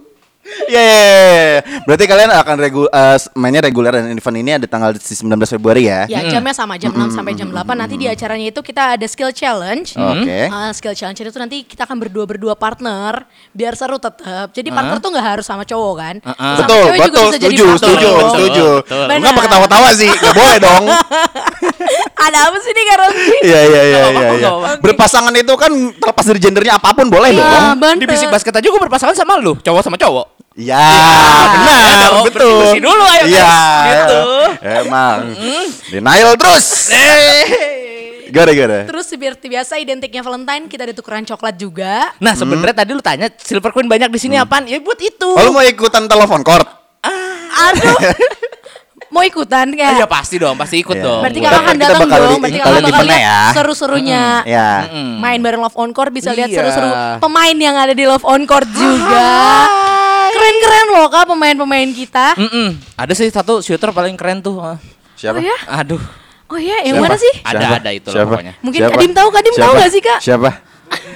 Speaker 1: Iya, iya, iya, iya. berarti kalian akan regu- eh, mainnya reguler dan event ini ada tanggal 19 Februari ya?
Speaker 3: Ya jamnya sama jam 6 sampai jam 8 Nanti di acaranya itu kita ada skill challenge
Speaker 1: Hmm. Oke.
Speaker 3: Eh, Skill challenge itu nanti kita akan berdua-berdua partner Biar seru tetap Jadi partner tuh gak harus sama cowok kan
Speaker 2: Ah.
Speaker 3: Sama
Speaker 1: Betul,
Speaker 3: cewek juga
Speaker 1: betul,
Speaker 3: bisa jadi
Speaker 1: setuju,
Speaker 3: partner
Speaker 1: setuju,
Speaker 3: dong.
Speaker 1: setuju.
Speaker 2: Betul.
Speaker 1: Lu
Speaker 3: Benar.
Speaker 1: Kenapa ketawa-tawa sih? Gak boleh dong.
Speaker 3: Ada apa sih nih Karol?
Speaker 1: Iya, iya, iya,
Speaker 2: Nggak
Speaker 1: iya.
Speaker 2: apa-apa,
Speaker 1: iya.
Speaker 2: nggak apa-apa.
Speaker 1: Berpasangan itu kan terlepas dari gendernya apapun boleh dong.
Speaker 3: Ya, bener.
Speaker 2: Di bisik basket aja gue berpasangan sama lu, cowok sama cowok.
Speaker 1: Ya,
Speaker 3: Iya,
Speaker 1: benar,
Speaker 2: dong,
Speaker 1: betul.
Speaker 2: bersih-bersih dulu, ayo,
Speaker 1: Iya,
Speaker 2: guys. Gitu.
Speaker 1: Emang. Denial terus.
Speaker 2: Eh.
Speaker 1: Gara-gara.
Speaker 3: Terus seperti biasa identiknya Valentine kita ada tukeran coklat juga
Speaker 2: Nah sebenarnya tadi lu tanya Silver Queen banyak di sini apaan? Ya buat itu.
Speaker 1: Oh, lu mau ikutan telepon court?
Speaker 3: Aduh Mau ikutan
Speaker 2: Ah,
Speaker 3: kayak
Speaker 2: ya pasti dong, pasti ikut
Speaker 1: Iya.
Speaker 2: dong.
Speaker 3: Berarti
Speaker 1: Kita-
Speaker 3: kakak akan
Speaker 1: kita
Speaker 3: datang
Speaker 1: bakal
Speaker 3: dong,
Speaker 1: di-
Speaker 3: berarti
Speaker 1: kalau
Speaker 3: kakak
Speaker 1: di
Speaker 3: bakal
Speaker 1: event-nya
Speaker 3: lihat
Speaker 1: ya.
Speaker 3: seru-serunya
Speaker 1: Ya.
Speaker 3: main bareng Love On Court bisa lihat
Speaker 2: Iya.
Speaker 3: seru-seru pemain yang ada di Love On Court juga. Keren-keren loh kak pemain-pemain kita.
Speaker 2: Mm-mm. Ada sih satu shooter paling keren tuh. Ah.
Speaker 1: Siapa?
Speaker 3: Oh ya,
Speaker 2: Aduh.
Speaker 3: oh ya, yang
Speaker 1: Siapa?
Speaker 3: mana sih?
Speaker 2: Ada-
Speaker 1: Siapa?
Speaker 2: ada itu lah
Speaker 1: Siapa?
Speaker 2: pokoknya.
Speaker 3: Mungkin
Speaker 1: Siapa?
Speaker 3: Kadim tahu, Kadim tahu
Speaker 1: Siapa?
Speaker 3: nggak sih, Kak?
Speaker 1: Siapa?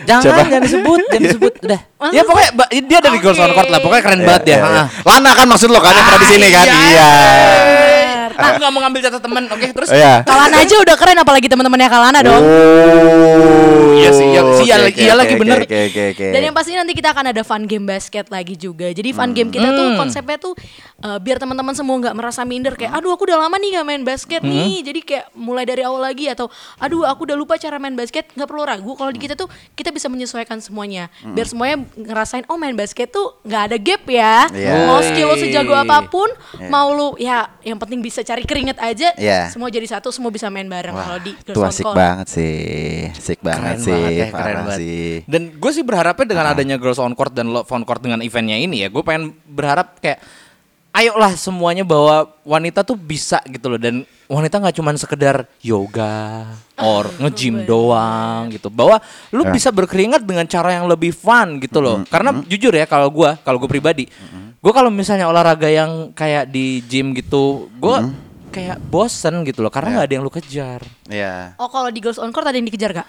Speaker 2: Jangan,
Speaker 1: Coba.
Speaker 2: jangan disebut, jangan disebut. Udah.
Speaker 3: Maksud
Speaker 2: ya pokoknya ba- dia dari
Speaker 3: Oke.
Speaker 2: Girls on Court lah, pokoknya keren banget
Speaker 1: Iya,
Speaker 2: ya.
Speaker 1: iya,
Speaker 2: Ah.
Speaker 1: iya. Lana kan maksud lo kan yang pernah di sini kan? Iya.
Speaker 2: Bener. Aku Ah, nggak mau ngambil jatah temen, oke terus.
Speaker 1: Iya.
Speaker 3: Kalana aja udah keren, apalagi teman-temannya Kalana dong.
Speaker 1: Oh,
Speaker 2: Iya sih, iya-
Speaker 1: oke,
Speaker 2: iya
Speaker 1: oke,
Speaker 2: lagi- iya
Speaker 1: oke,
Speaker 2: lagi
Speaker 1: oke,
Speaker 2: bener.
Speaker 1: Oke, oke, oke.
Speaker 3: Dan yang pasti nanti kita akan ada fun game basket lagi juga. Jadi
Speaker 1: Hmm.
Speaker 3: fun game kita tuh konsepnya tuh uh, biar teman-teman semua nggak merasa minder kayak aduh aku udah lama nih nggak main basket nih. Jadi kayak mulai dari awal lagi atau aduh aku udah lupa cara main basket nggak perlu ragu. Kalau di kita tuh kita bisa menyesuaikan semuanya.
Speaker 1: Hmm.
Speaker 3: Biar semuanya ngerasain oh main basket tuh nggak ada gap ya.
Speaker 1: Iya.
Speaker 3: Mau skill lo sejago
Speaker 2: Woi.
Speaker 3: apapun, mau lu ya yang penting bisa cari keringet aja.
Speaker 1: Iya.
Speaker 3: Semua jadi satu, semua bisa main bareng kalau di Girls
Speaker 1: Tuh
Speaker 3: on
Speaker 1: asik
Speaker 3: Court.
Speaker 1: banget sih, asik banget
Speaker 2: Keren
Speaker 1: sih,
Speaker 2: banget ya, keren
Speaker 1: parah
Speaker 2: banget.
Speaker 1: sih. Ah.
Speaker 2: Dan gue sih berharapnya dengan adanya Girls on Court dan Love on Court dengan eventnya ini ya, gue pengen berharap kayak ayolah semuanya bahwa wanita tuh bisa gitu loh dan wanita nggak cuman sekedar yoga or nge-gym doang gitu. Bahwa lu
Speaker 1: Nah.
Speaker 2: bisa berkeringat dengan cara yang lebih fun gitu loh. Karena jujur ya kalau gue, kalau gue pribadi, gue kalau misalnya olahraga yang kayak di gym gitu, gue kayak bosen gitu loh
Speaker 1: Ya.
Speaker 2: karena nggak ada yang lu kejar.
Speaker 1: Iya.
Speaker 3: Oh kalau di Girls on Court ada yang dikejar gak?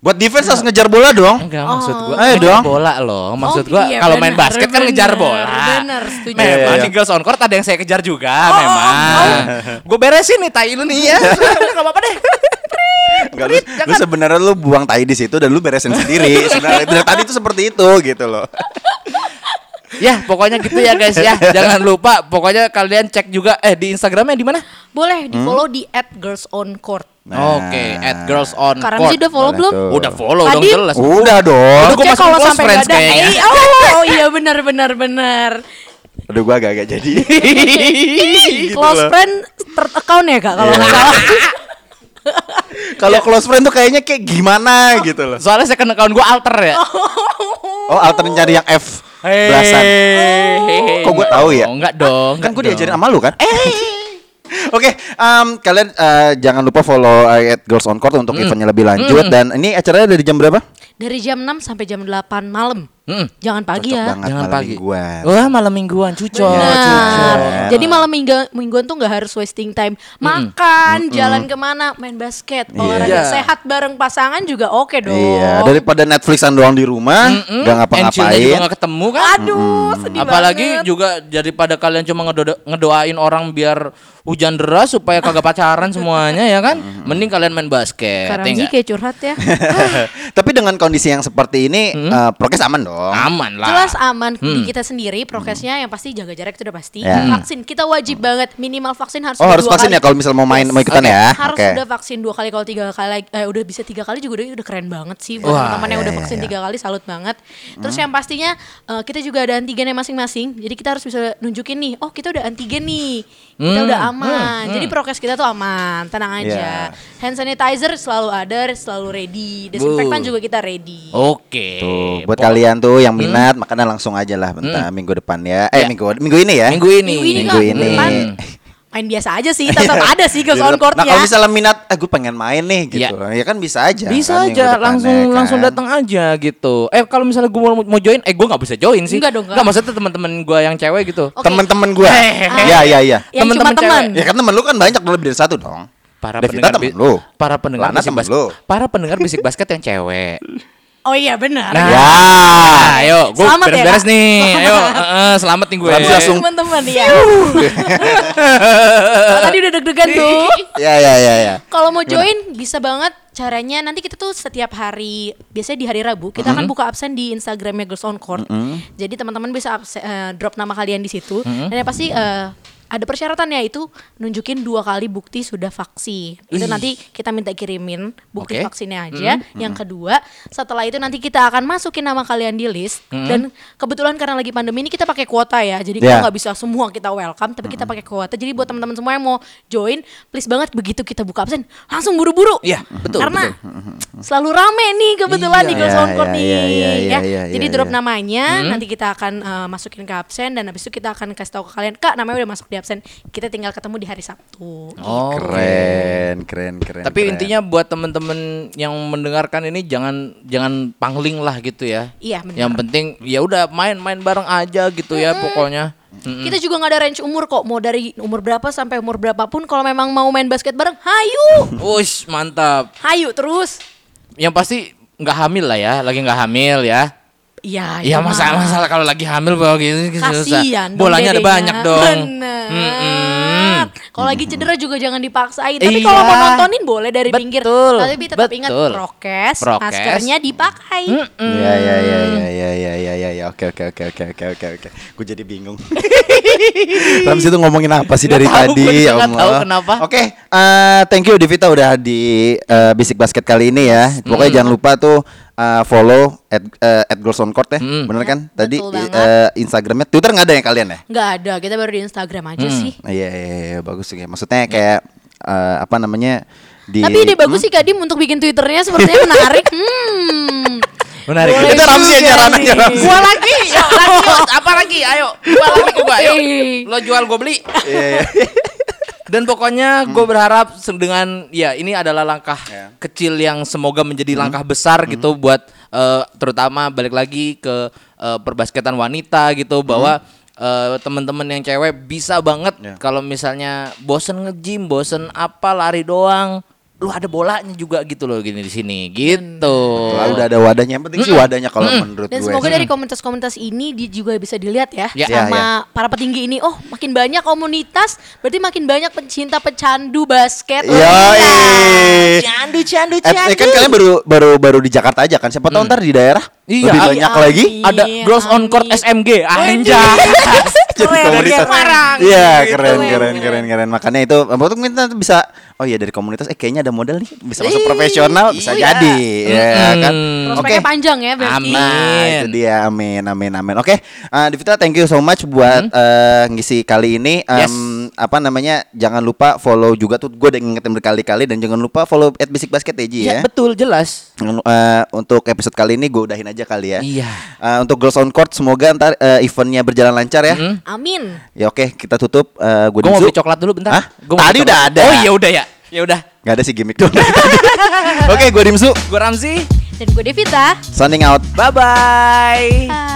Speaker 1: Buat defense harus ngejar bola dong.
Speaker 2: Enggak maksud gua.
Speaker 1: Ayo
Speaker 2: ngejar
Speaker 1: dong.
Speaker 2: Bola loh. Maksud
Speaker 3: Oh.
Speaker 2: gua
Speaker 3: iya,
Speaker 2: kalau main
Speaker 3: benar,
Speaker 2: basket kan ngejar
Speaker 3: benar,
Speaker 2: bola.
Speaker 3: benar, setuju. Oh,
Speaker 2: Memang
Speaker 1: Iya, iya.
Speaker 2: di girls on court ada yang saya kejar juga memang. Gue beresin nih tai lu nih ya. Enggak apa-apa deh.
Speaker 1: Enggak lu, lu sebenarnya lu buang tai di situ dan lu beresin sendiri. Sebenarnya dari tadi itu seperti itu gitu loh.
Speaker 2: Ya, pokoknya gitu ya guys ya. Jangan lupa pokoknya kalian cek juga eh di Instagramnya di mana?
Speaker 3: Boleh
Speaker 2: Hmm?
Speaker 3: di follow di at girls on court.
Speaker 1: Nah.
Speaker 2: Oke, at girls on
Speaker 3: Karamzi udah
Speaker 2: Hmm, court.
Speaker 3: follow
Speaker 1: Boleh
Speaker 3: belum?
Speaker 1: tuh.
Speaker 2: Udah follow dong
Speaker 3: Adit?
Speaker 2: jelas.
Speaker 1: Udah dong.
Speaker 2: Aduh, gua
Speaker 3: Cek
Speaker 2: masukin
Speaker 3: kalau
Speaker 2: close
Speaker 3: sampai
Speaker 2: friends
Speaker 3: nggak ada.
Speaker 2: kayaknya.
Speaker 3: Eh, oh, oh iya benar benar benar.
Speaker 1: Aduh gua agak-agak jadi.
Speaker 2: Hihihi.
Speaker 1: Gitu
Speaker 3: Close
Speaker 1: loh.
Speaker 2: Iya.
Speaker 3: friend third account ya kak kalau nggak salah.
Speaker 1: Kalau close friend tuh kayaknya kayak gimana gitu loh.
Speaker 2: Soalnya second account gue alter ya.
Speaker 1: Oh, alter nyari yang F
Speaker 3: Oh.
Speaker 1: belasan.
Speaker 2: Hei.
Speaker 1: Kok gua tahu ya?
Speaker 2: Oh, enggak dong.
Speaker 1: Kan gue
Speaker 2: enggak
Speaker 1: diajarin
Speaker 2: dong.
Speaker 1: sama lu kan. Oke, em, kalian eh, jangan lupa follow eh, at Girls on Court untuk eventnya lebih lanjut dan ini acaranya dari jam berapa?
Speaker 3: Dari jam 6 sampai jam 8 malam.
Speaker 2: Mm-mm.
Speaker 3: Jangan pagi
Speaker 1: Cocok
Speaker 3: ya.
Speaker 1: banget
Speaker 2: Jangan
Speaker 1: malam
Speaker 2: pagi.
Speaker 1: mingguan.
Speaker 2: Wah, malam mingguan cucok.
Speaker 3: Benar.
Speaker 1: cucok.
Speaker 3: Jadi malam minggu mingguan tuh nggak harus wasting time. Makan, jalan kemana, main basket, olahraga
Speaker 2: Hmm. Iya.
Speaker 3: sehat bareng pasangan juga oke dong.
Speaker 1: Iya, daripada Netflixan doang di rumah, gak
Speaker 2: And chill-nya juga
Speaker 1: ngapa-ngapain.
Speaker 2: nggak ketemu kan?
Speaker 3: Aduh, sedih
Speaker 2: Apalagi
Speaker 3: banget.
Speaker 2: juga daripada kalian cuma ngedo- ngedoain orang biar hujan deras supaya kagak pacaran semuanya ya kan? Mending kalian main basket. ya
Speaker 3: Karanji
Speaker 2: nggak?
Speaker 3: kayak curhat ya.
Speaker 1: Tapi dengan kondisi yang seperti ini, eh, prokes aman dong.
Speaker 2: Aman lah.
Speaker 3: Jelas aman di kita sendiri prokesnya yang pasti jaga jarak itu udah pasti.
Speaker 1: Hmm. Ya.
Speaker 3: Vaksin kita wajib banget minimal vaksin harus
Speaker 1: Oh
Speaker 3: udah
Speaker 1: harus
Speaker 3: dua
Speaker 1: vaksin
Speaker 3: kali.
Speaker 1: ya kalau misal mau main
Speaker 3: Yes.
Speaker 1: mau ikutan ya.
Speaker 3: Harus
Speaker 1: Oke.
Speaker 3: udah vaksin dua kali kalau tiga kali eh, udah bisa tiga kali juga udah, udah keren banget sih buat
Speaker 2: Wah,
Speaker 3: teman-teman yang
Speaker 1: iya,
Speaker 3: udah
Speaker 1: iya,
Speaker 3: vaksin
Speaker 1: iya. Hmm.
Speaker 3: tiga kali salut banget. Terus yang pastinya eh, kita juga ada antigennya masing-masing. Jadi kita harus bisa nunjukin nih, oh kita udah antigen nih. Kita
Speaker 2: Hmm,
Speaker 3: udah aman. Jadi
Speaker 1: Hmm.
Speaker 3: prokes kita tuh aman, tenang
Speaker 1: Iya.
Speaker 3: aja. Hand sanitizer selalu ada, selalu ready. Desinfektan
Speaker 2: Wuh.
Speaker 3: juga kita ready.
Speaker 2: Oke.
Speaker 1: Tuh, buat
Speaker 2: Pok-
Speaker 1: kalian tuh yang minat makanan langsung aja lah bentar minggu depan ya. Eh
Speaker 2: Ya.
Speaker 1: minggu minggu ini ya.
Speaker 2: Minggu ini.
Speaker 3: Minggu ini
Speaker 1: Minggu
Speaker 3: Kak,
Speaker 1: ini.
Speaker 3: depan main biasa aja sih, tetap ada sih ya. girls on court
Speaker 1: Nah kalau misalnya minat, eh gue pengen main nih gitu. Ya kan bisa aja.
Speaker 2: Bisa
Speaker 1: kan, minggu
Speaker 2: aja
Speaker 1: depannya,
Speaker 2: langsung
Speaker 1: kan.
Speaker 2: langsung datang aja gitu. Eh kalau misalnya gue mau, mau join, eh gue nggak bisa join sih.
Speaker 3: Enggak dong, enggak.
Speaker 2: Nggak, maksudnya teman-teman gue yang cewek gitu.
Speaker 3: Oke.
Speaker 1: Temen-temen gue.
Speaker 2: Hehehe.
Speaker 1: Ya ya ya.
Speaker 3: Yang
Speaker 2: Temen-temen
Speaker 3: cuma teman.
Speaker 2: cewek.
Speaker 1: Ya kan temen lu kan banyak lebih dari satu dong.
Speaker 2: Para
Speaker 1: Devita
Speaker 2: pendengar
Speaker 1: temen
Speaker 2: bi-
Speaker 1: lu.
Speaker 2: para pendengar
Speaker 1: Lana
Speaker 2: bisik
Speaker 1: temen
Speaker 2: bas-
Speaker 1: lu.
Speaker 2: Para pendengar bisik basket yang cewek.
Speaker 3: Oh iya benar.
Speaker 2: Nah,
Speaker 1: Ya.
Speaker 2: ayo, gue
Speaker 3: Selamat ya,
Speaker 2: beres-beres
Speaker 3: Kak.
Speaker 2: nih. Ayo, eh, selamat nih gue.
Speaker 1: Selamat langsung.
Speaker 3: teman-teman ya. Kalau tadi udah deg-degan tuh.
Speaker 1: Ya ya ya ya.
Speaker 3: Kalau mau join bisa banget caranya nanti kita tuh setiap hari biasanya di hari Rabu kita akan buka absen di Instagramnya Girls on Court. Jadi teman-teman bisa abse- eh, drop nama kalian di situ dan yang pasti eh, ada persyaratannya itu nunjukin dua kali bukti sudah vaksin. Itu
Speaker 2: Ih.
Speaker 3: nanti kita minta kirimin bukti
Speaker 2: Oke.
Speaker 3: vaksinnya aja.
Speaker 1: Mm-hmm.
Speaker 3: Yang kedua, setelah itu nanti kita akan masukin nama kalian di list
Speaker 1: Mm-hmm.
Speaker 3: dan kebetulan karena lagi pandemi ini kita pakai kuota ya. Jadi kita
Speaker 1: Ya.
Speaker 3: nggak bisa semua kita welcome tapi kita
Speaker 1: Mm-hmm.
Speaker 3: pakai kuota jadi buat teman-teman semua yang mau join please banget begitu kita buka absen langsung buru-buru
Speaker 2: Iya, betul,
Speaker 3: karena selalu rame nih kebetulan di
Speaker 1: Mm-hmm. Iya,
Speaker 3: Girls on Court
Speaker 1: iya,
Speaker 3: nih
Speaker 1: iya, iya, iya,
Speaker 3: ya
Speaker 1: iya,
Speaker 3: jadi
Speaker 1: iya,
Speaker 3: drop
Speaker 1: iya.
Speaker 3: namanya nanti kita akan eh, masukin ke absen dan habis itu kita akan kasih tahu ke kalian kak namanya udah masuk di absen kita tinggal ketemu di hari Sabtu
Speaker 2: Oh,
Speaker 1: Keren keren keren.
Speaker 2: Tapi
Speaker 1: keren.
Speaker 2: intinya buat temen-temen yang mendengarkan ini jangan jangan pangling lah gitu ya.
Speaker 3: Iya, benar.
Speaker 2: Yang penting ya udah main-main bareng aja gitu ya pokoknya. Mm-mm.
Speaker 3: Kita juga nggak ada range umur kok, mau dari umur berapa sampai umur berapapun kalau memang mau main basket bareng, hayu,
Speaker 2: Wush, mantap.
Speaker 3: hayu terus.
Speaker 2: Yang pasti nggak hamil lah ya, lagi nggak hamil ya.
Speaker 3: Iya, itu
Speaker 2: Ya
Speaker 3: mah.
Speaker 2: masalah masalah kalau lagi hamil bawa gitu susah.
Speaker 3: kasihan dong
Speaker 2: Bolanya ada
Speaker 3: dedenya.
Speaker 2: banyak dong.
Speaker 3: Bener.
Speaker 2: Mm-mm.
Speaker 3: Kalau lagi cedera juga jangan dipaksain. Tapi
Speaker 2: Iya.
Speaker 3: kalau mau nontonin boleh dari pinggir.
Speaker 2: Betul.
Speaker 3: Tapi tetap ingat
Speaker 2: Betul.
Speaker 3: prokes,
Speaker 2: Prokes. Mm.
Speaker 3: maskernya dipakai.
Speaker 1: Ya ya ya
Speaker 3: Hmm.
Speaker 1: ya ya ya ya ya ya oke oke oke oke oke oke oke. Gue jadi bingung. Ramzi tuh ngomongin apa sih dari
Speaker 2: Nggak tahu,
Speaker 1: tadi?
Speaker 2: gua juga
Speaker 1: ya
Speaker 2: nggak
Speaker 1: Allah.
Speaker 2: tahu kenapa.
Speaker 1: Oke, eh, thank you Devita udah di eh, Bisik Basket kali ini ya.
Speaker 3: Hmm.
Speaker 1: Pokoknya jangan lupa tuh eh, follow at, eh, at Girls on Court ya. Bener kan?
Speaker 3: Hmm. betul
Speaker 1: Tadi
Speaker 3: banget.
Speaker 1: eh, Instagramnya, Twitter nggak ada ya kalian ya?
Speaker 3: Nggak ada, kita baru di Instagram aja
Speaker 2: Mm.
Speaker 3: sih.
Speaker 1: Iya iya iya, bagus juga. Maksudnya kayak eh, apa namanya di.
Speaker 3: Hmm. Tapi ide bagus sih Kak Dim untuk bikin Twitternya sepertinya menarik. Hmm.
Speaker 2: Menarik.
Speaker 3: Boleh
Speaker 1: Itu Ramzi aja,
Speaker 3: juga
Speaker 1: Ramzi,
Speaker 3: nih.
Speaker 1: Ramzi.
Speaker 2: Gua lagi, ya, lagi, yuk. apa lagi? Ayo, gua lagi gua. Ayo.
Speaker 3: Oke.
Speaker 2: Lo jual gue beli.
Speaker 1: Iya, Hmm. iya.
Speaker 2: Dan pokoknya gue berharap se- dengan ya ini adalah langkah
Speaker 1: Iya.
Speaker 2: kecil yang semoga menjadi
Speaker 1: Hmm.
Speaker 2: langkah besar gitu buat eh, terutama balik lagi ke eh, perbasketan wanita
Speaker 1: Hmm.
Speaker 2: gitu bahwa eh, teman-teman yang cewek bisa banget
Speaker 1: Ya.
Speaker 2: kalau misalnya bosen nge-gym, bosen apa lari doang, lu ada bolanya juga gitu loh gini di sini gitu.
Speaker 1: Kalau udah ada wadahnya, yang penting sih wadahnya kalau menurut
Speaker 3: Hmm. Dan
Speaker 1: gue.
Speaker 3: semoga dari komunitas-komunitas ini dia juga bisa dilihat ya
Speaker 2: Ya.
Speaker 3: sama
Speaker 1: Ya,
Speaker 3: para petinggi ini. Oh, makin banyak komunitas, berarti makin banyak pencinta pecandu basket. iya.
Speaker 1: Yoi.
Speaker 2: Candu candu
Speaker 1: Eh, eh, kan kalian baru baru baru di Jakarta aja kan. Siapa tahu ntar di daerah
Speaker 2: Iya,
Speaker 1: lebih
Speaker 2: iya,
Speaker 1: banyak
Speaker 3: iya.
Speaker 1: lagi.
Speaker 2: ada
Speaker 3: Iya,
Speaker 2: Girls on Court
Speaker 3: Ami.
Speaker 2: SMG anjay.
Speaker 1: Jadi
Speaker 3: Keren,
Speaker 1: komunitas.
Speaker 3: keren.
Speaker 1: Iya,
Speaker 3: Gitu,
Speaker 1: keren
Speaker 3: keren,
Speaker 1: keren keren keren. Makanya itu menurut gue kita bisa oh iya dari komunitas eh kayaknya ada modal nih bisa masuk
Speaker 2: Ih,
Speaker 1: profesional bisa
Speaker 3: iya.
Speaker 1: jadi ya kan oke
Speaker 3: Prospeknya panjang ya berarti.
Speaker 2: Amin.
Speaker 1: Nah, itu dia. Amin, amin, amin. Oke, eh, Devita, thank you so much buat eh, ngisi kali ini. Em,
Speaker 2: Mm-hmm. Yes.
Speaker 1: Apa namanya? Jangan lupa follow juga tuh. Gue udah ngingetin berkali-kali dan jangan lupa follow at Basic Basket ya, Ji, ya.
Speaker 2: Ya, betul jelas.
Speaker 1: Jangan lu- eh, untuk episode kali ini gue udahin aja kali ya.
Speaker 2: Iya.
Speaker 1: Eh, untuk Girls on Court semoga ntar eh, eventnya berjalan lancar ya.
Speaker 3: Amin.
Speaker 1: Ya oke, kita tutup. Eh, gue
Speaker 2: Gue Mm-hmm. mau beli coklat dulu bentar.
Speaker 1: Hah?
Speaker 2: Gua mau
Speaker 1: Tadi
Speaker 2: beli
Speaker 1: udah
Speaker 2: coklat.
Speaker 1: ada.
Speaker 2: Oh iya udah ya. Ya udah.
Speaker 1: Gak ada sih gimmick doang. Oke, gue Dimsu.
Speaker 2: Gue Ramzi.
Speaker 3: Dan gue Devita.
Speaker 1: Signing out.
Speaker 2: Bye bye.
Speaker 3: Bye.